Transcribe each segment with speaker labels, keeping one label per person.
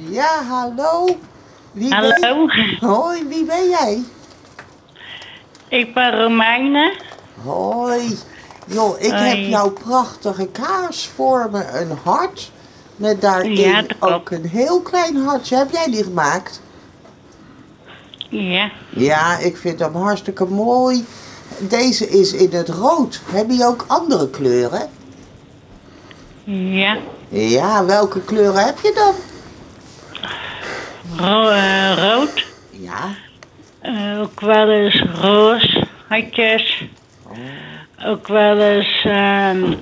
Speaker 1: Ja, hallo. Wie Ben...
Speaker 2: Hallo,
Speaker 1: Hoi, wie ben jij?
Speaker 2: ik ben Romeine.
Speaker 1: Hoi. Joh, ik
Speaker 2: Hoi.
Speaker 1: heb jouw prachtige kaas voor me. Een hart. Met daarin
Speaker 2: Ja, dat klopt.
Speaker 1: ook een heel klein hartje. Heb jij die gemaakt?
Speaker 2: Ja,
Speaker 1: Ja, ik vind hem hartstikke mooi. Deze is in het rood. Heb je ook andere kleuren?
Speaker 2: ja.
Speaker 1: Ja, welke kleuren heb je dan?
Speaker 2: Ro- eh, rood.
Speaker 1: Ja.
Speaker 2: Eh, ook wel eens roos, hartjes. Ook wel eens ehm,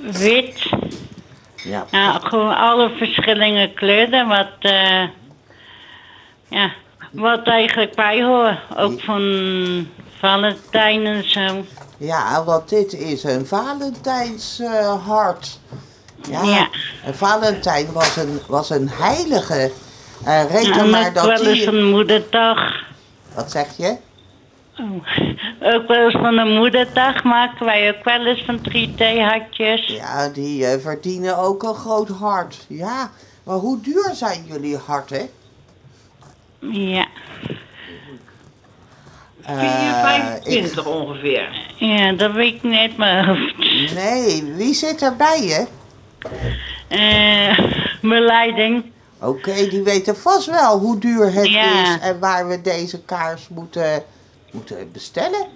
Speaker 2: wit.
Speaker 1: Ja.
Speaker 2: Ja, gewoon alle verschillende kleuren wat, eh, ja, wat eigenlijk bij hoort. Ook van Valentijn en zo.
Speaker 1: Ja, want dit is een Valentijns eh, hart. Ja.
Speaker 2: Ja.
Speaker 1: En Valentijn was een, was een heilige. Eh reken
Speaker 2: En
Speaker 1: maar
Speaker 2: ook
Speaker 1: dat
Speaker 2: wel eens
Speaker 1: die...
Speaker 2: een moederdag.
Speaker 1: Wat zeg je?
Speaker 2: Oh. Ook wel eens van de moederdag maken wij ook wel eens van 3D-hartjes.
Speaker 1: Ja, die eh, verdienen ook een groot hart. Ja, maar hoe duur zijn jullie harten?
Speaker 2: Ja.
Speaker 1: Eh,
Speaker 3: 425 ongeveer.
Speaker 2: ja, dat weet ik niet uit mijn hoofd.
Speaker 1: ik- Nee, wie zit er bij je?
Speaker 2: Eh, mijn leiding.
Speaker 1: Oké, die weten vast wel hoe duur het
Speaker 2: Ja.
Speaker 1: is en waar we deze kaars moeten, moeten bestellen.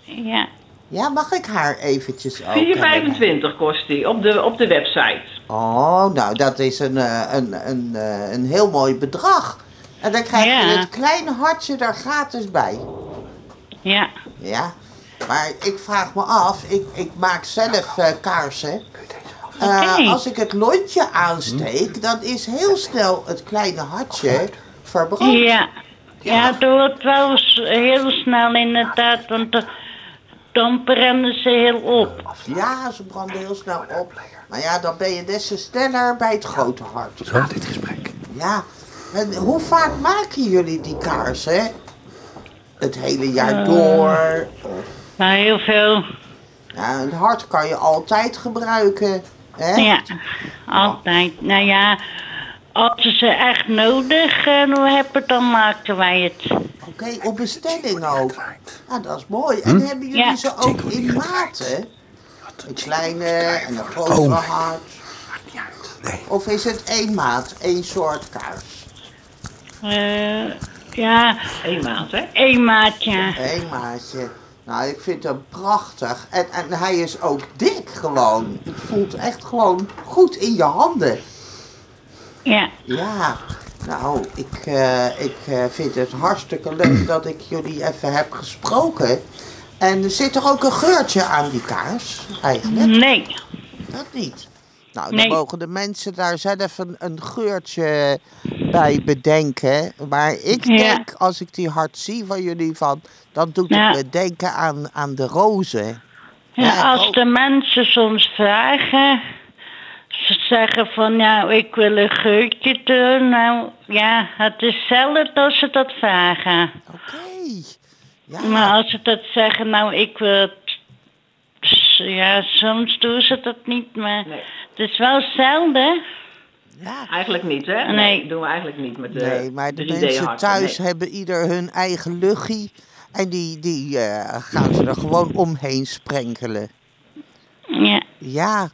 Speaker 2: Ja.
Speaker 1: Ja, mag ik haar eventjes ook? eh, hebben?
Speaker 3: 425 kost die op de, op de website.
Speaker 1: Oh, nou, dat is een, eh, een, een, eh, een heel mooi bedrag. En dan krijg je
Speaker 2: Ja.
Speaker 1: het kleine hartje er gratis bij.
Speaker 2: Ja.
Speaker 1: Ja, maar ik vraag me af, ik, ik maak zelf eh, kaarsen. Eh,
Speaker 2: Oké.
Speaker 1: Als ik het lontje aansteek, dan is heel snel het kleine hartje verbrand.
Speaker 2: Ja. Ja, het wordt wel s- heel snel inderdaad, want de- dan branden ze heel op.
Speaker 1: Ja, ze branden heel snel op. Maar ja, dan ben je des te sneller bij het grote hart.
Speaker 4: Na dit gesprek.
Speaker 1: Ja, en hoe vaak maken jullie die kaarsen? Het hele
Speaker 2: Eh.
Speaker 1: jaar door? Of,
Speaker 2: Maar Nou, heel veel.
Speaker 1: ja, een hart kan je altijd gebruiken. Hè?
Speaker 2: Ja, altijd. Nou ja, als we ze echt nodig eh, hebben, dan maken wij het.
Speaker 1: Oké, op bestelling ook. Ja, dat is mooi. En hebben jullie
Speaker 2: Ja.
Speaker 1: ze ook in maten? Een kleine en een grotere
Speaker 4: Oh.
Speaker 1: hart?
Speaker 4: Nee.
Speaker 1: Of is het één maat, één soort kaars?
Speaker 2: Eh, ja,
Speaker 3: Eén maand, hè?
Speaker 2: één maat, ja.
Speaker 1: Eén maatje. Nou, ik vind hem prachtig. En, en hij is ook dik gewoon. Het voelt echt gewoon goed in je handen.
Speaker 2: Ja,
Speaker 1: Ja, nou, ik, eh, ik eh, vind het hartstikke leuk dat ik jullie even heb gesproken. En zit er ook een geurtje aan die kaars eigenlijk?
Speaker 2: nee.
Speaker 1: Dat niet. Nou, dan
Speaker 2: Mm. Nee.
Speaker 1: mogen de mensen daar zelf een, een geurtje bij bedenken. Maar ik
Speaker 2: Ja.
Speaker 1: denk, als ik die hart zie van jullie, van, dan doet
Speaker 2: Ja.
Speaker 1: het me denken aan, aan de rozen. Ja,
Speaker 2: Ja, als
Speaker 1: ook.
Speaker 2: de mensen soms vragen, ze zeggen van nou, ik wil een geurtje doen. Nou ja, het is zelden dat ze dat vragen.
Speaker 1: Oké. Ja.
Speaker 2: Maar als ze dat zeggen, nou ik wil het- ja, soms doen ze dat niet, maar
Speaker 3: Nee.
Speaker 2: het is wel zelden.
Speaker 1: ja.
Speaker 3: Eigenlijk niet, hè?
Speaker 2: Nee.
Speaker 3: dat doen we eigenlijk niet met de
Speaker 1: Nee, maar de
Speaker 3: 3D
Speaker 1: mensen
Speaker 3: harten,
Speaker 1: thuis
Speaker 3: nee.
Speaker 1: hebben ieder hun eigen luchie. En die, die eh, gaan ze er gewoon omheen sprenkelen.
Speaker 2: Ja,
Speaker 1: Ja,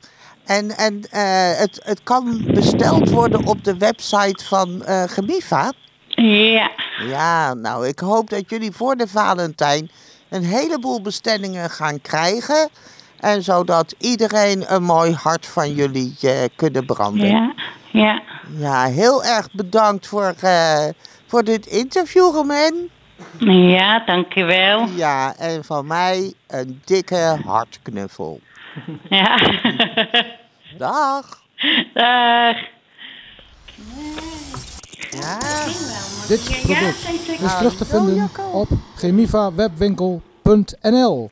Speaker 1: en, en eh, het, het kan besteld worden op de website van eh Gemiva.
Speaker 2: ja,
Speaker 1: Ja, nou, ik hoop dat jullie voor de Valentijn een heleboel bestellingen gaan krijgen. En zodat iedereen een mooi hart van jullie eh, kunnen branden. Ja.
Speaker 2: ja, ja.
Speaker 1: heel erg bedankt voor, eh, voor dit interview, Romain.
Speaker 2: Ja, dankjewel.
Speaker 1: Ja, en van mij een dikke hartknuffel.
Speaker 2: Ja.
Speaker 1: Dag.
Speaker 2: Dag.
Speaker 1: Ja.
Speaker 5: Dit product
Speaker 2: zeker.
Speaker 5: is terug te vinden op chemivawebwinkel.nl